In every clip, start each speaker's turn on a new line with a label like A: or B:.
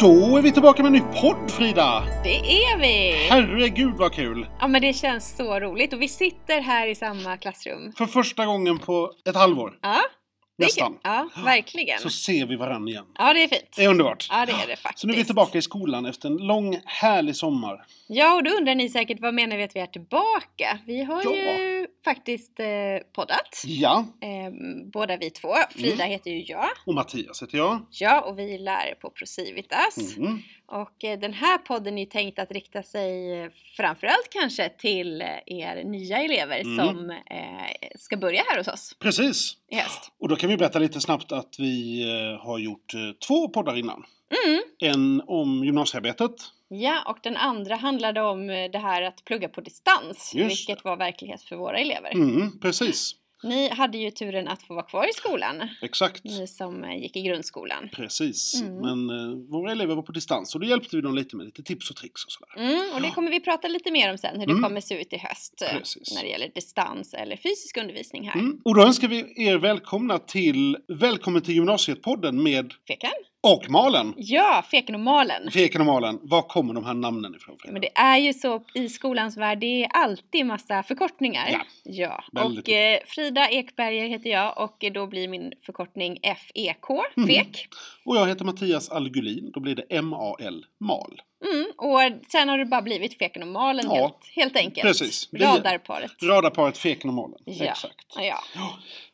A: Då är vi tillbaka med en ny podd Frida!
B: Det är vi!
A: Herregud vad kul!
B: Ja men det känns så roligt och vi sitter här i samma klassrum.
A: För första gången på ett halvår,
B: Ja, det är
A: nästan,
B: kul. Ja, verkligen.
A: så ser vi varandra igen.
B: Ja det är fint.
A: Det är underbart!
B: Ja det är det faktiskt.
A: Så nu är vi tillbaka i skolan efter en lång härlig sommar.
B: Ja och då undrar ni säkert vad menar vi att vi är tillbaka? Vi har
A: Ja.
B: ju faktiskt eh, poddat.
A: Ja,
B: Ehm, båda vi två.
A: Mm.
B: Frida heter ju jag.
A: och Mattias heter jag.
B: Jag och vi är lärare på Procivitas.
A: Mm.
B: Och eh, den här podden är ju tänkt att rikta sig eh, framförallt kanske till eh, er nya elever
A: Mm.
B: som eh, ska börja här hos oss
A: Precis!
B: i höst.
A: Och då kan vi berätta lite snabbt att vi eh, har gjort eh, två poddar innan.
B: Mm.
A: En om gymnasiearbetet.
B: Ja, och den andra handlade om eh, det här att plugga på distans,
A: Just
B: vilket var verklighet för våra elever.
A: Mm, precis,
B: Ni hade ju turen att få vara kvar i skolan,
A: exakt.
B: ni som eh, gick i grundskolan.
A: Precis,
B: Mm.
A: men eh, våra elever var på distans och då hjälpte vi dem lite med lite tips och tricks och sådär.
B: Mm, och det kommer vi prata lite mer om sen, hur
A: Mm.
B: det kommer se ut i höst eh,
A: Precis.
B: när det gäller distans eller fysisk undervisning här.
A: Mm. Och då önskar vi er välkomna till Välkommen till gymnasiet-podden med
B: Fekan?
A: och Malen.
B: Ja, Feken och Malen!
A: Feken och Malen, var kommer de här namnen ifrån? Frida?
B: Men det är ju så i skolans värld, det är alltid massa förkortningar.
A: Ja,
B: ja.
A: väldigt
B: Och eh, Frida Ekberger heter jag och eh, då blir min förkortning FEK,
A: Mm.
B: FEK.
A: Och jag heter Mattias Algulin, då blir det M-A-L, Mal.
B: Mm, och sen har det bara blivit Feken och Malen
A: Ja,
B: helt, helt enkelt.
A: precis. Vi-
B: Radarparet.
A: Radarparet Feken och Malen,
B: Ja.
A: exakt.
B: Ja.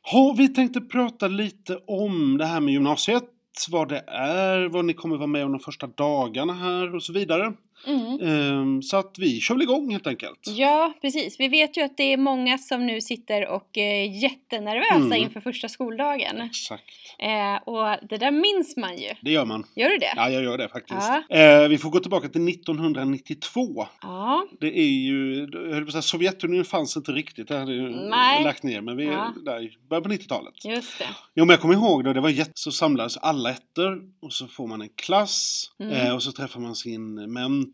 A: Ha, vi tänkte prata lite om det här med gymnasiet, vad det är, vad ni kommer vara med om de första dagarna här och så vidare.
B: Mm.
A: Ehm, så att vi kör väl igång helt enkelt.
B: ja, precis. Vi vet ju att det är många som nu sitter och eh, är jättenervösa
A: Mm.
B: inför första skoldagen.
A: Exakt.
B: Eh, och det där minns man ju.
A: Det gör man.
B: Gör du det?
A: Ja, jag gör det faktiskt.
B: Ja.
A: Eh, vi får gå tillbaka till 1992.
B: Ja.
A: Det är ju, jag höll på att säga, Sovjetunionen fanns inte riktigt, det hade ju
B: Nej.
A: lagt ner, men vi är
B: Ja.
A: där i början på 90-talet.
B: Just det.
A: Jo, men jag kommer ihåg då, det var jätte, så samlades alla ettor och så får man en klass
B: Mm.
A: eh, och så träffar man sin mentor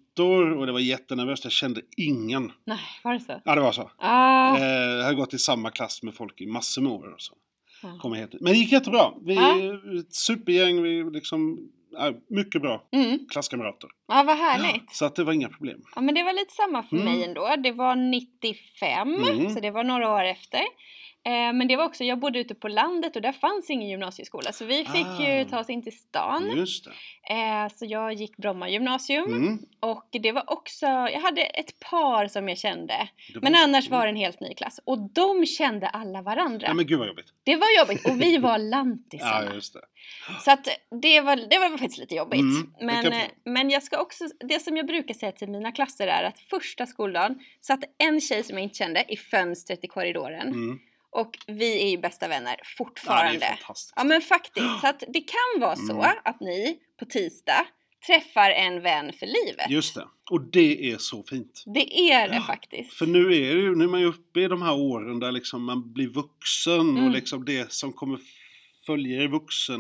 A: och det var jättenervöst, jag kände ingen.
B: Nej, var det så?
A: Ja, det var så.
B: Ah.
A: Eh, jag hade gått i samma klass med folk i massor med år och så.
B: Ja.
A: Kommer helt, men det gick jättebra. Vi
B: Ja.
A: ett supergäng, vi liksom, ja, mycket bra
B: Mm.
A: klasskamrater.
B: Ja, vad härligt.
A: Så att det var inga problem.
B: Ja, men det var lite samma för
A: Mm.
B: mig ändå. Det var 95,
A: Mm.
B: så det var några år efter. Eh, Men det var också, jag bodde ute på landet och där fanns ingen gymnasieskola så vi fick ju
A: Ah.
B: ta oss in till stan.
A: Just det.
B: Eh, Så jag gick Bromma gymnasium
A: Mm.
B: och det var också, jag hade ett par som jag kände.
A: Det
B: Men
A: var-
B: annars var det en helt ny klass och de kände alla varandra.
A: Ja men gud vad jobbigt.
B: Det var jobbigt och vi var
A: Ja
B: lantisarna.
A: just det.
B: Så att det var, det var faktiskt lite jobbigt.
A: Mm, det kan
B: men, eh,
A: jag förstå.
B: men jag ska också, det som jag brukar säga till mina klasser är att första skoldagen satt en tjej som jag inte kände i fönstret i korridoren.
A: Mm.
B: Och vi är ju bästa vänner
A: Ja, det är
B: fortfarande. Ja,
A: fantastiskt.
B: men faktiskt. Så att det kan vara så
A: Mm.
B: att ni på tisdag träffar en vän för livet.
A: Just det. Och det är så fint.
B: Det är det
A: Ja,
B: faktiskt.
A: För nu är det ju, nu är man ju uppe i de här åren där liksom man blir vuxen och
B: Mm.
A: liksom det som kommer följa i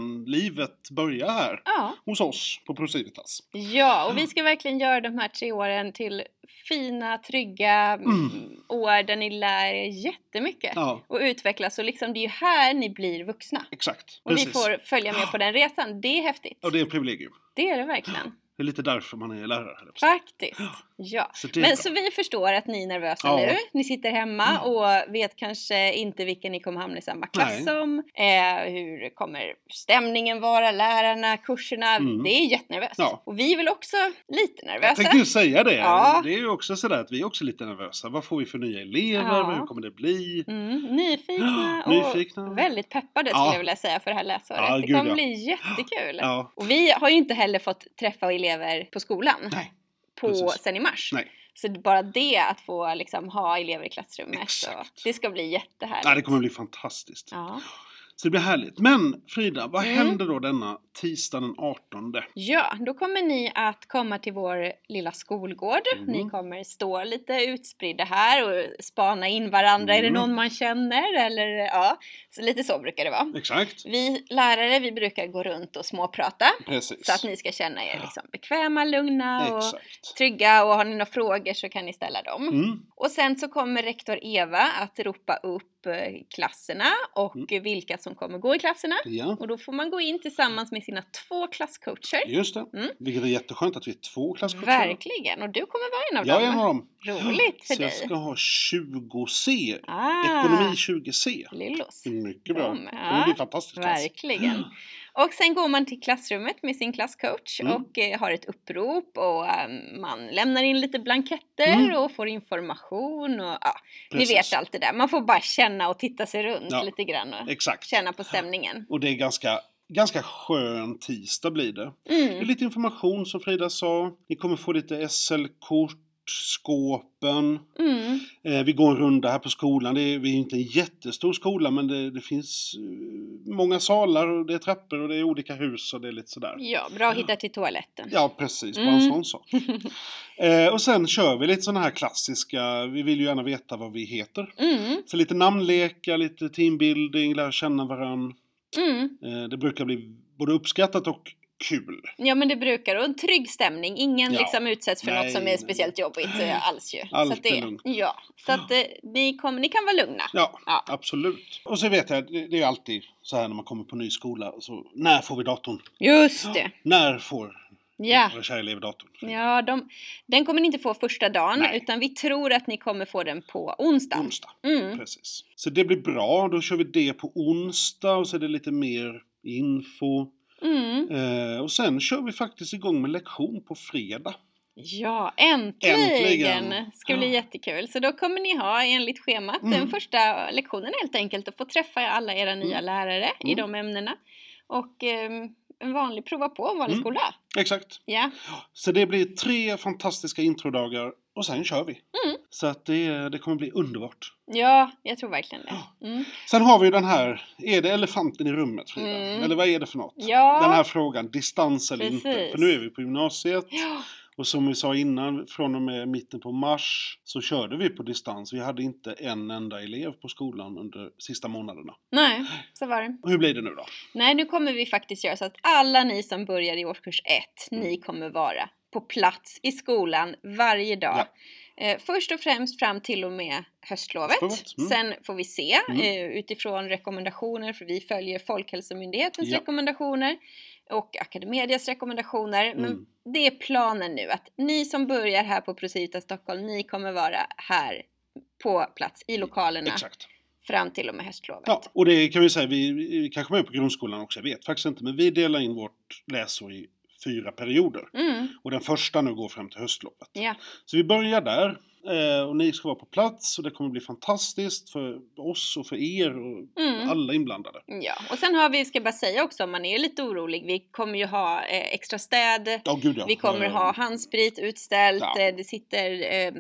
A: vuxenlivet börjar här.
B: Ja.
A: Hos oss på Procivitas.
B: ja, och vi ska verkligen göra de här tre åren till fina, trygga
A: Mm.
B: år där ni lär er jättemycket.
A: Ja,
B: och utvecklas. Och liksom, det är ju här ni blir vuxna.
A: exakt.
B: Och ni får följa med på den resan. Det är häftigt.
A: Och det är ett privilegium.
B: Det är det verkligen.
A: Det är lite därför man är lärare. höll jag på att säga.
B: Faktiskt. Ja.
A: Så det är bra.
B: Men så vi förstår att ni är nervösa
A: Ja. Mm.
B: nu. Ni sitter hemma och vet kanske inte vilka ni kommer hamna i samma klass
A: Nej.
B: som. Eh, hur kommer stämningen vara, lärarna, kurserna?
A: Mm.
B: Det är jättenervöst.
A: Ja.
B: Och vi är väl också
A: Jag
B: lite nervösa.
A: tänkte ju säga det.
B: Ja.
A: Det är ju också sådär att vi är också lite nervösa. Vad får vi för nya elever?
B: Ja.
A: Hur kommer det bli?
B: Mm, nyfikna och
A: Nyfikna.
B: väldigt peppade
A: Ja.
B: skulle jag vilja säga för det här läsåret.
A: Ja,
B: det
A: gud,
B: kommer
A: ja.
B: bli jättekul.
A: Ja.
B: Och vi har ju inte heller fått träffa elever på skolan
A: Nej.
B: på,
A: precis.
B: sen i mars.
A: Nej.
B: Så bara det att få liksom, ha elever i klassrummet, och,
A: Exakt.
B: det ska bli jättehärligt.
A: Nej, det kommer bli fantastiskt.
B: ja.
A: Så det blir härligt. Men Frida, vad
B: Mm.
A: händer då denna tisdag den 18?
B: ja, då kommer ni att komma till vår lilla skolgård.
A: Mm.
B: Ni kommer stå lite utspridda här och spana in varandra. Är
A: Mm.
B: det någon man känner? Eller, ja. så lite så brukar det vara.
A: Mm. Exakt.
B: Vi lärare, vi brukar gå runt och småprata.
A: Precis.
B: Så att ni ska känna er liksom bekväma, lugna och
A: Exakt.
B: trygga. Och har ni några frågor så kan ni ställa dem.
A: Mm.
B: Och sen så kommer rektor Eva att ropa upp upp eh, klasserna och eh,
A: Mm.
B: vilka som kommer gå i klasserna.
A: Ja,
B: Och då får man gå in tillsammans med sina två klasscoacher.
A: just det.
B: Mm.
A: Vilket är jätteskönt att vi är två klasscoacher.
B: Verkligen! Och du kommer vara en av
A: Jag är
B: dem.
A: en av dem.
B: Roligt för
A: Så jag
B: dig!
A: ska ha 20C.
B: Ah,
A: Ekonomi 20C.
B: Lillos.
A: Mycket bra.
B: Dem,
A: Det
B: Mm. ja.
A: kommer bli fantastiskt. alltså.
B: Verkligen. Och sen går man till klassrummet med sin klasscoach
A: Mm.
B: och eh, har ett upprop och eh, man lämnar in lite blanketter
A: Mm.
B: och får information och ja, ni
A: Precis.
B: vet allt det där. Man får bara känna och titta sig runt
A: Ja.
B: lite grann och
A: Exakt.
B: känna på stämningen.
A: Och det är ganska, ganska skön tisdag blir det. Det är
B: Mm.
A: lite information som Frida sa. Ni kommer få lite SL-kort, skåpen.
B: Mm.
A: Eh, vi går en runda här på skolan. Det är, vi är inte en jättestor skola men det, det finns eh, många salar och det är trappor och det är olika hus och det är lite sådär.
B: Ja, bra att hitta till toaletten.
A: Ja, precis. Bara
B: Mm.
A: en sån sak. Eh, och sen kör vi lite sådana här klassiska, vi vill ju gärna veta vad vi heter.
B: Mm.
A: Så lite namnlekar, lite teambuilding, lära känna varandra.
B: Mm.
A: Eh, det brukar bli både uppskattat och kul.
B: Ja men det brukar, och en trygg stämning. Ingen
A: Ja.
B: liksom utsätts för något
A: Nej,
B: som är
A: nej.
B: speciellt jobbigt eh, alls ju.
A: Allt
B: så att det,
A: är lugnt.
B: Ja, så att eh, ni, kom, ni kan vara lugna.
A: Ja,
B: Ja.
A: absolut. Och så vet jag, det det är alltid så här när man kommer på ny skola. Så, när får vi datorn?
B: Just det!
A: När får
B: Ja.
A: våra kära elever datorn?
B: Ja, de, den kommer ni inte få första dagen
A: Nej.
B: utan vi tror att ni kommer få den på onsdag.
A: Onsdag.
B: Mm.
A: Precis. Så det blir bra. Då kör vi det på onsdag och så är det lite mer info.
B: Mm.
A: Eh, och sen kör vi faktiskt igång med lektion på fredag.
B: Ja, äntligen!
A: Äntligen.
B: ska bli
A: Ja.
B: jättekul. Så då kommer ni ha enligt schemat den
A: Mm.
B: första lektionen helt enkelt och få träffa alla era nya lärare i
A: Mm.
B: de ämnena. Och ehm, en vanlig, prova på en vanlig
A: Mm.
B: skola.
A: Exakt.
B: Ja.
A: Så det blir tre fantastiska introdagar och sen kör vi.
B: Mm.
A: Så att det, det kommer bli underbart.
B: ja, jag tror verkligen det. Mm.
A: Sen har vi ju den här, är det elefanten i rummet Frida?
B: Mm.
A: Eller vad är det för något?
B: Ja.
A: Den här frågan, distans eller inte.
B: Precis.
A: För nu är vi på gymnasiet
B: Ja.
A: och som vi sa innan, från och med mitten på mars så körde vi på distans. Vi hade inte en enda elev på skolan under sista månaderna.
B: Nej, så var det.
A: Och Hur blir det nu då?
B: Nej, nu kommer vi faktiskt göra så att alla ni som börjar i årskurs 1,
A: Mm.
B: ni kommer vara på plats i skolan varje dag. Eh, först och främst fram till och med höstlovet.
A: Höstlovet, mm.
B: Sen får vi se
A: Mm.
B: eh, utifrån rekommendationer, för vi följer Folkhälsomyndighetens
A: Ja.
B: rekommendationer och Academedias rekommendationer. Men
A: Mm.
B: det är planen nu att ni som börjar här på Prosivita Stockholm, ni kommer vara här på plats i lokalerna
A: Exakt.
B: fram till och med höstlovet.
A: Ja, och det kan vi säga, vi, vi kanske var på grundskolan också, jag vet faktiskt inte. Men vi delar in vårt läsår i fyra perioder.
B: Mm.
A: Och den första nu går fram till höstlovet.
B: Ja.
A: Så vi börjar där. eh, Och ni ska vara på plats och det kommer bli fantastiskt för oss och för er och
B: Mm.
A: alla inblandade.
B: Ja, och sen har vi, ska jag bara säga också om man är lite orolig, vi kommer ju ha eh, extra städ,
A: Ja, gud ja.
B: vi kommer
A: Eh,
B: ha handsprit utställt,
A: Ja.
B: eh, det sitter eh,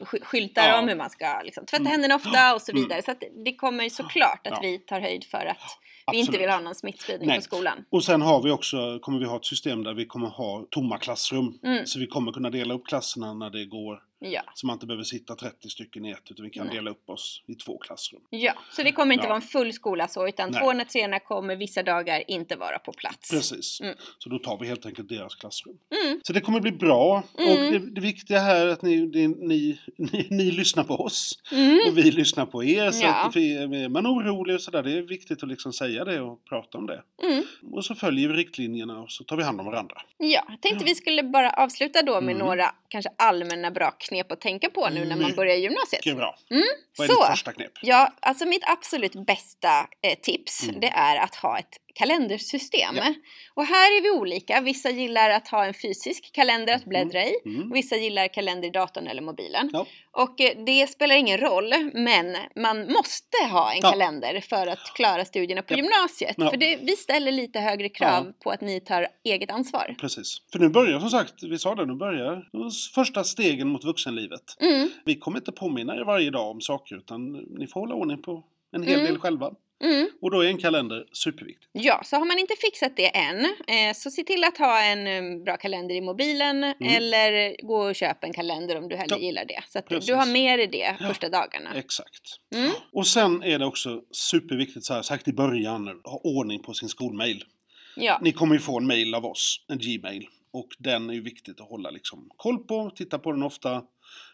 B: sk- skyltar
A: Ja.
B: om hur man ska liksom, tvätta
A: Mm.
B: händerna ofta och så
A: Mm.
B: vidare. Så att det kommer såklart att
A: Ja.
B: vi tar höjd för att vi
A: absolut.
B: inte vill ha någon smittspridning
A: Nej.
B: på skolan.
A: Och sen har vi också, kommer vi ha ett system där vi kommer ha tomma klassrum.
B: Mm.
A: Så vi kommer kunna dela upp klasserna när det går.
B: Ja.
A: Så man inte behöver sitta 30 stycken i ett utan vi kan
B: Nej.
A: dela upp oss i två klassrum.
B: ja, så det kommer inte
A: Ja.
B: vara en full skola så, utan
A: Nej.
B: 200-300 kommer vissa dagar inte vara på plats.
A: Precis.
B: Mm.
A: Så då tar vi helt enkelt deras klassrum.
B: Mm.
A: Så det kommer bli bra.
B: Mm.
A: Och det, det viktiga här är att ni, det, ni, ni, ni lyssnar på oss.
B: Mm.
A: Och vi lyssnar på er. Så
B: Ja.
A: att vi, är man orolig och sådär, det är viktigt att liksom säga det och prata om det.
B: Mm.
A: Och så följer vi riktlinjerna och så tar vi hand om varandra.
B: Ja, jag tänkte vi skulle bara avsluta då med
A: Mm.
B: några kanske allmänna bra knep att tänka på nu när man
A: Mycket
B: börjar gymnasiet.
A: Okej, bra.
B: Mm,
A: Vad är
B: så.
A: ditt första knep?
B: Ja, alltså mitt absolut bästa eh, tips
A: Mm.
B: det är att ha ett kalendersystem.
A: Ja.
B: Och här är vi olika. Vissa gillar att ha en fysisk kalender att bläddra i.
A: Mm.
B: Vissa gillar kalender i datorn eller mobilen.
A: Ja.
B: Och eh, det spelar ingen roll, men man måste ha en
A: Ja.
B: kalender för att klara studierna på
A: Ja.
B: gymnasiet.
A: Ja.
B: För det, vi ställer lite högre krav på att ni tar eget ansvar.
A: Precis. För nu börjar som sagt, vi sa det, nu börjar de första stegen mot vuxenlivet.
B: Mm,
A: Vi kommer inte påminna er varje dag om saker utan ni får hålla ordning på en hel
B: Mm.
A: del själva.
B: mm.
A: Och då är en kalender superviktigt.
B: Ja, så har man inte fixat det än, eh, så se till att ha en eh, bra kalender i mobilen eller gå och köpa en kalender om du hellre
A: Mm. Ja,
B: gillar det. Så att
A: precis.
B: du har med dig det
A: Ja,
B: första dagarna.
A: Exakt.
B: Mm.
A: Och sen är det också superviktigt, så här, sagt i början, nu, ha ordning på sin skolmail.
B: Ja,
A: Ni kommer ju få en mail av oss, en Gmail. Och den är ju viktigt att hålla liksom koll på, titta på den ofta,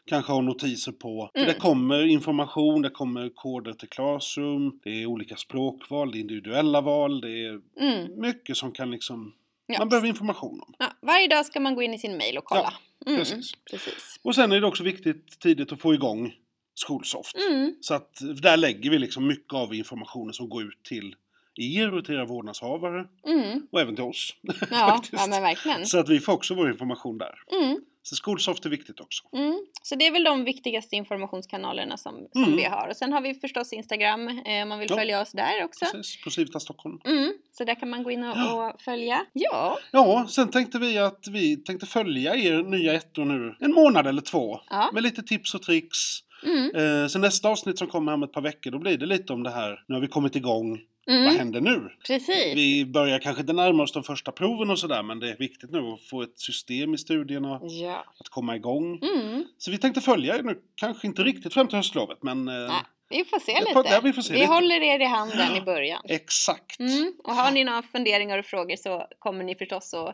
A: kanske ha notiser på. För
B: Mm.
A: Det kommer information, det kommer koder till Classroom, det är olika språkval, det är individuella val, det är
B: Mm.
A: mycket som kan liksom,
B: Ja.
A: man behöver information om.
B: Ja, varje dag ska man gå in i sin mail och kolla. Mm,
A: precis.
B: precis.
A: Och sen är det också viktigt tidigt att få igång Skolsoft.
B: Mm,
A: Så att där lägger vi liksom mycket av informationen som går ut till er och till era vårdnadshavare
B: mm.
A: och även till oss.
B: Ja,
A: Faktiskt.
B: ja, men verkligen.
A: Så att vi får också vår information där.
B: Mm,
A: Så Skolsoft är viktigt också.
B: mm. Så det är väl de viktigaste informationskanalerna som, som
A: Mm.
B: vi har. Och sen har vi förstås Instagram, eh, om man vill
A: Ja.
B: följa oss där också.
A: Precis, på Civita Stockholm.
B: Mm, så där kan man gå in och,
A: Ja.
B: och följa. Ja,
A: Ja, sen tänkte vi att vi tänkte följa er nya ettor nu en månad eller två.
B: Ja.
A: Med lite tips och tricks.
B: mm,
A: Eh, sen nästa avsnitt som kommer här om ett par veckor, då blir det lite om det här. Nu har vi kommit igång. Vad
B: mm.
A: händer nu?
B: precis.
A: Vi börjar kanske inte närma oss de första proven och sådär, men det är viktigt nu att få ett system i studierna,
B: Ja.
A: att komma igång.
B: Mm.
A: Så vi tänkte följa er nu, kanske inte riktigt fram till höstlovet, men eh,
B: Nej. Vi får se
A: Det får-
B: lite.
A: ja, vi får se lite.
B: håller er i handen i början.
A: exakt.
B: Mm. Och har ni några funderingar och frågor så kommer ni förstås och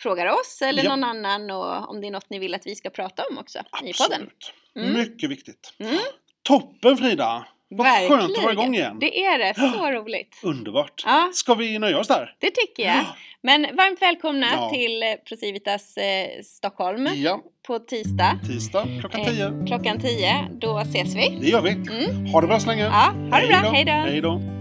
B: frågar oss eller
A: Ja.
B: någon annan och om det är något ni vill att vi ska prata om också i podden.
A: Absolut.
B: Mm.
A: Mycket viktigt.
B: Mm.
A: Toppen Frida! Vad skönt att vara
B: Verkligen.
A: igång igen.
B: Det är det, så roligt.
A: Underbart.
B: Ja.
A: Ska vi nöja oss där?
B: Det tycker jag. Men varmt välkomna
A: Ja.
B: till eh, Procivitas eh, Stockholm
A: Ja,
B: på tisdag
A: tisdag klockan 10.
B: klockan 10. Då ses vi.
A: Det gör vi. Ha det bra så länge.
B: Ja, Mm. ha det bra. Hej då.
A: Hej då.